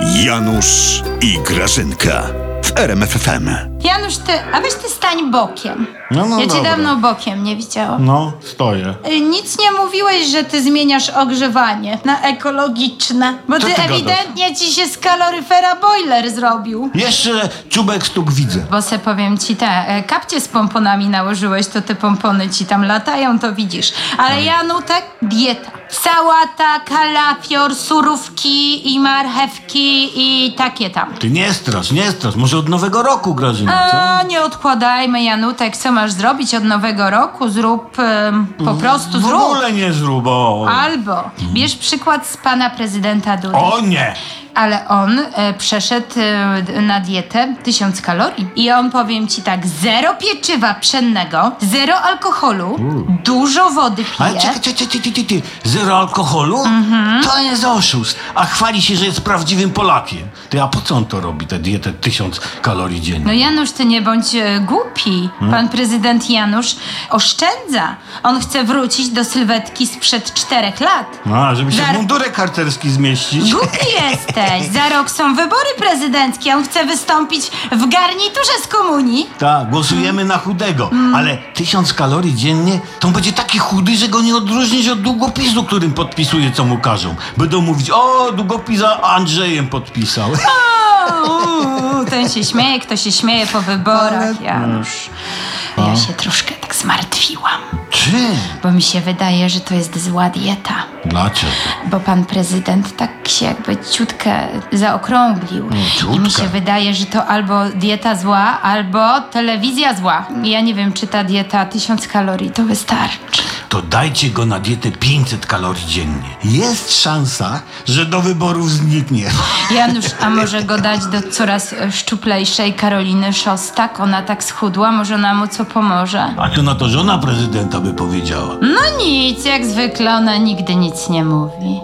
Janusz i Grażynka w RMFFM. Janusz, ty, a weź ty stań bokiem. No, no, ja cię dobra. dawno bokiem nie widziałam. No, stoję. Y, Nic nie mówiłeś, że ty zmieniasz ogrzewanie na ekologiczne, bo Co ty, ty gadasz? ewidentnie ci się z kaloryfera boiler zrobił. Jeszcze czubek stóp widzę. Bo se powiem ci te, e, kapcie z pomponami nałożyłeś, to te pompony ci tam latają, to widzisz. Ale Janutek, dieta. Sałata, kalafior, surówki i marchewki i takie tam. Ty nie strasz, nie strasz. Może od nowego roku, Grażyna, co? A, nie odkładajmy, Janutek, co masz zrobić od nowego roku? Zrób, em, po prostu W zrób. ogóle nie zrób, o. Albo bierz przykład z pana prezydenta Dudy. O nie! Ale on e, przeszedł e, d- na dietę 1000 kalorii. I on, powiem ci tak, zero pieczywa pszennego, zero alkoholu, dużo wody pije. Mm. Ale czekaj, czekaj, czekaj, czekaj, czekaj. Zero alkoholu? Mhm. To jest oszust. A chwali się, że jest prawdziwym Polakiem. Ty, a po co on to robi, tę dietę tysiąc kalorii No dziennie? Janusz, ty nie bądź e, głupi. Mm. Pan prezydent Janusz oszczędza. On chce wrócić do sylwetki sprzed czterech lat. No, a żeby się Zar- w mundurek karterski zmieścić. Głupi jesteś! Za rok są wybory prezydenckie. On chce wystąpić w garniturze z komunii. Tak, głosujemy na chudego, ale tysiąc kalorii dziennie to on będzie taki chudy, że go nie odróżnisz od długopisu, którym podpisuje, co mu każą. Będą mówić, o, długopisa Andrzejem podpisał. O, uuu, ten się śmieje, kto się śmieje po wyborach, Janusz. Ja się troszkę tak zmartwiłam, Czy? bo mi się wydaje, że to jest zła dieta. Dlaczego? Bo pan prezydent tak się jakby ciutkę zaokrąglił. I mi ciutkę. się wydaje, że to albo dieta zła, albo telewizja zła. Ja nie wiem, czy ta dieta 1000 kalorii to wystarczy. To dajcie go na dietę 500 kalorii dziennie. Jest szansa, że do wyborów zniknie. Janusz, a może go dać do coraz e, szczuplejszej Karoliny Szostak? Ona tak schudła, może ona mu co pomoże? A to na to żona prezydenta by powiedziała. No nic, jak zwykle ona nigdy nic nie mówi.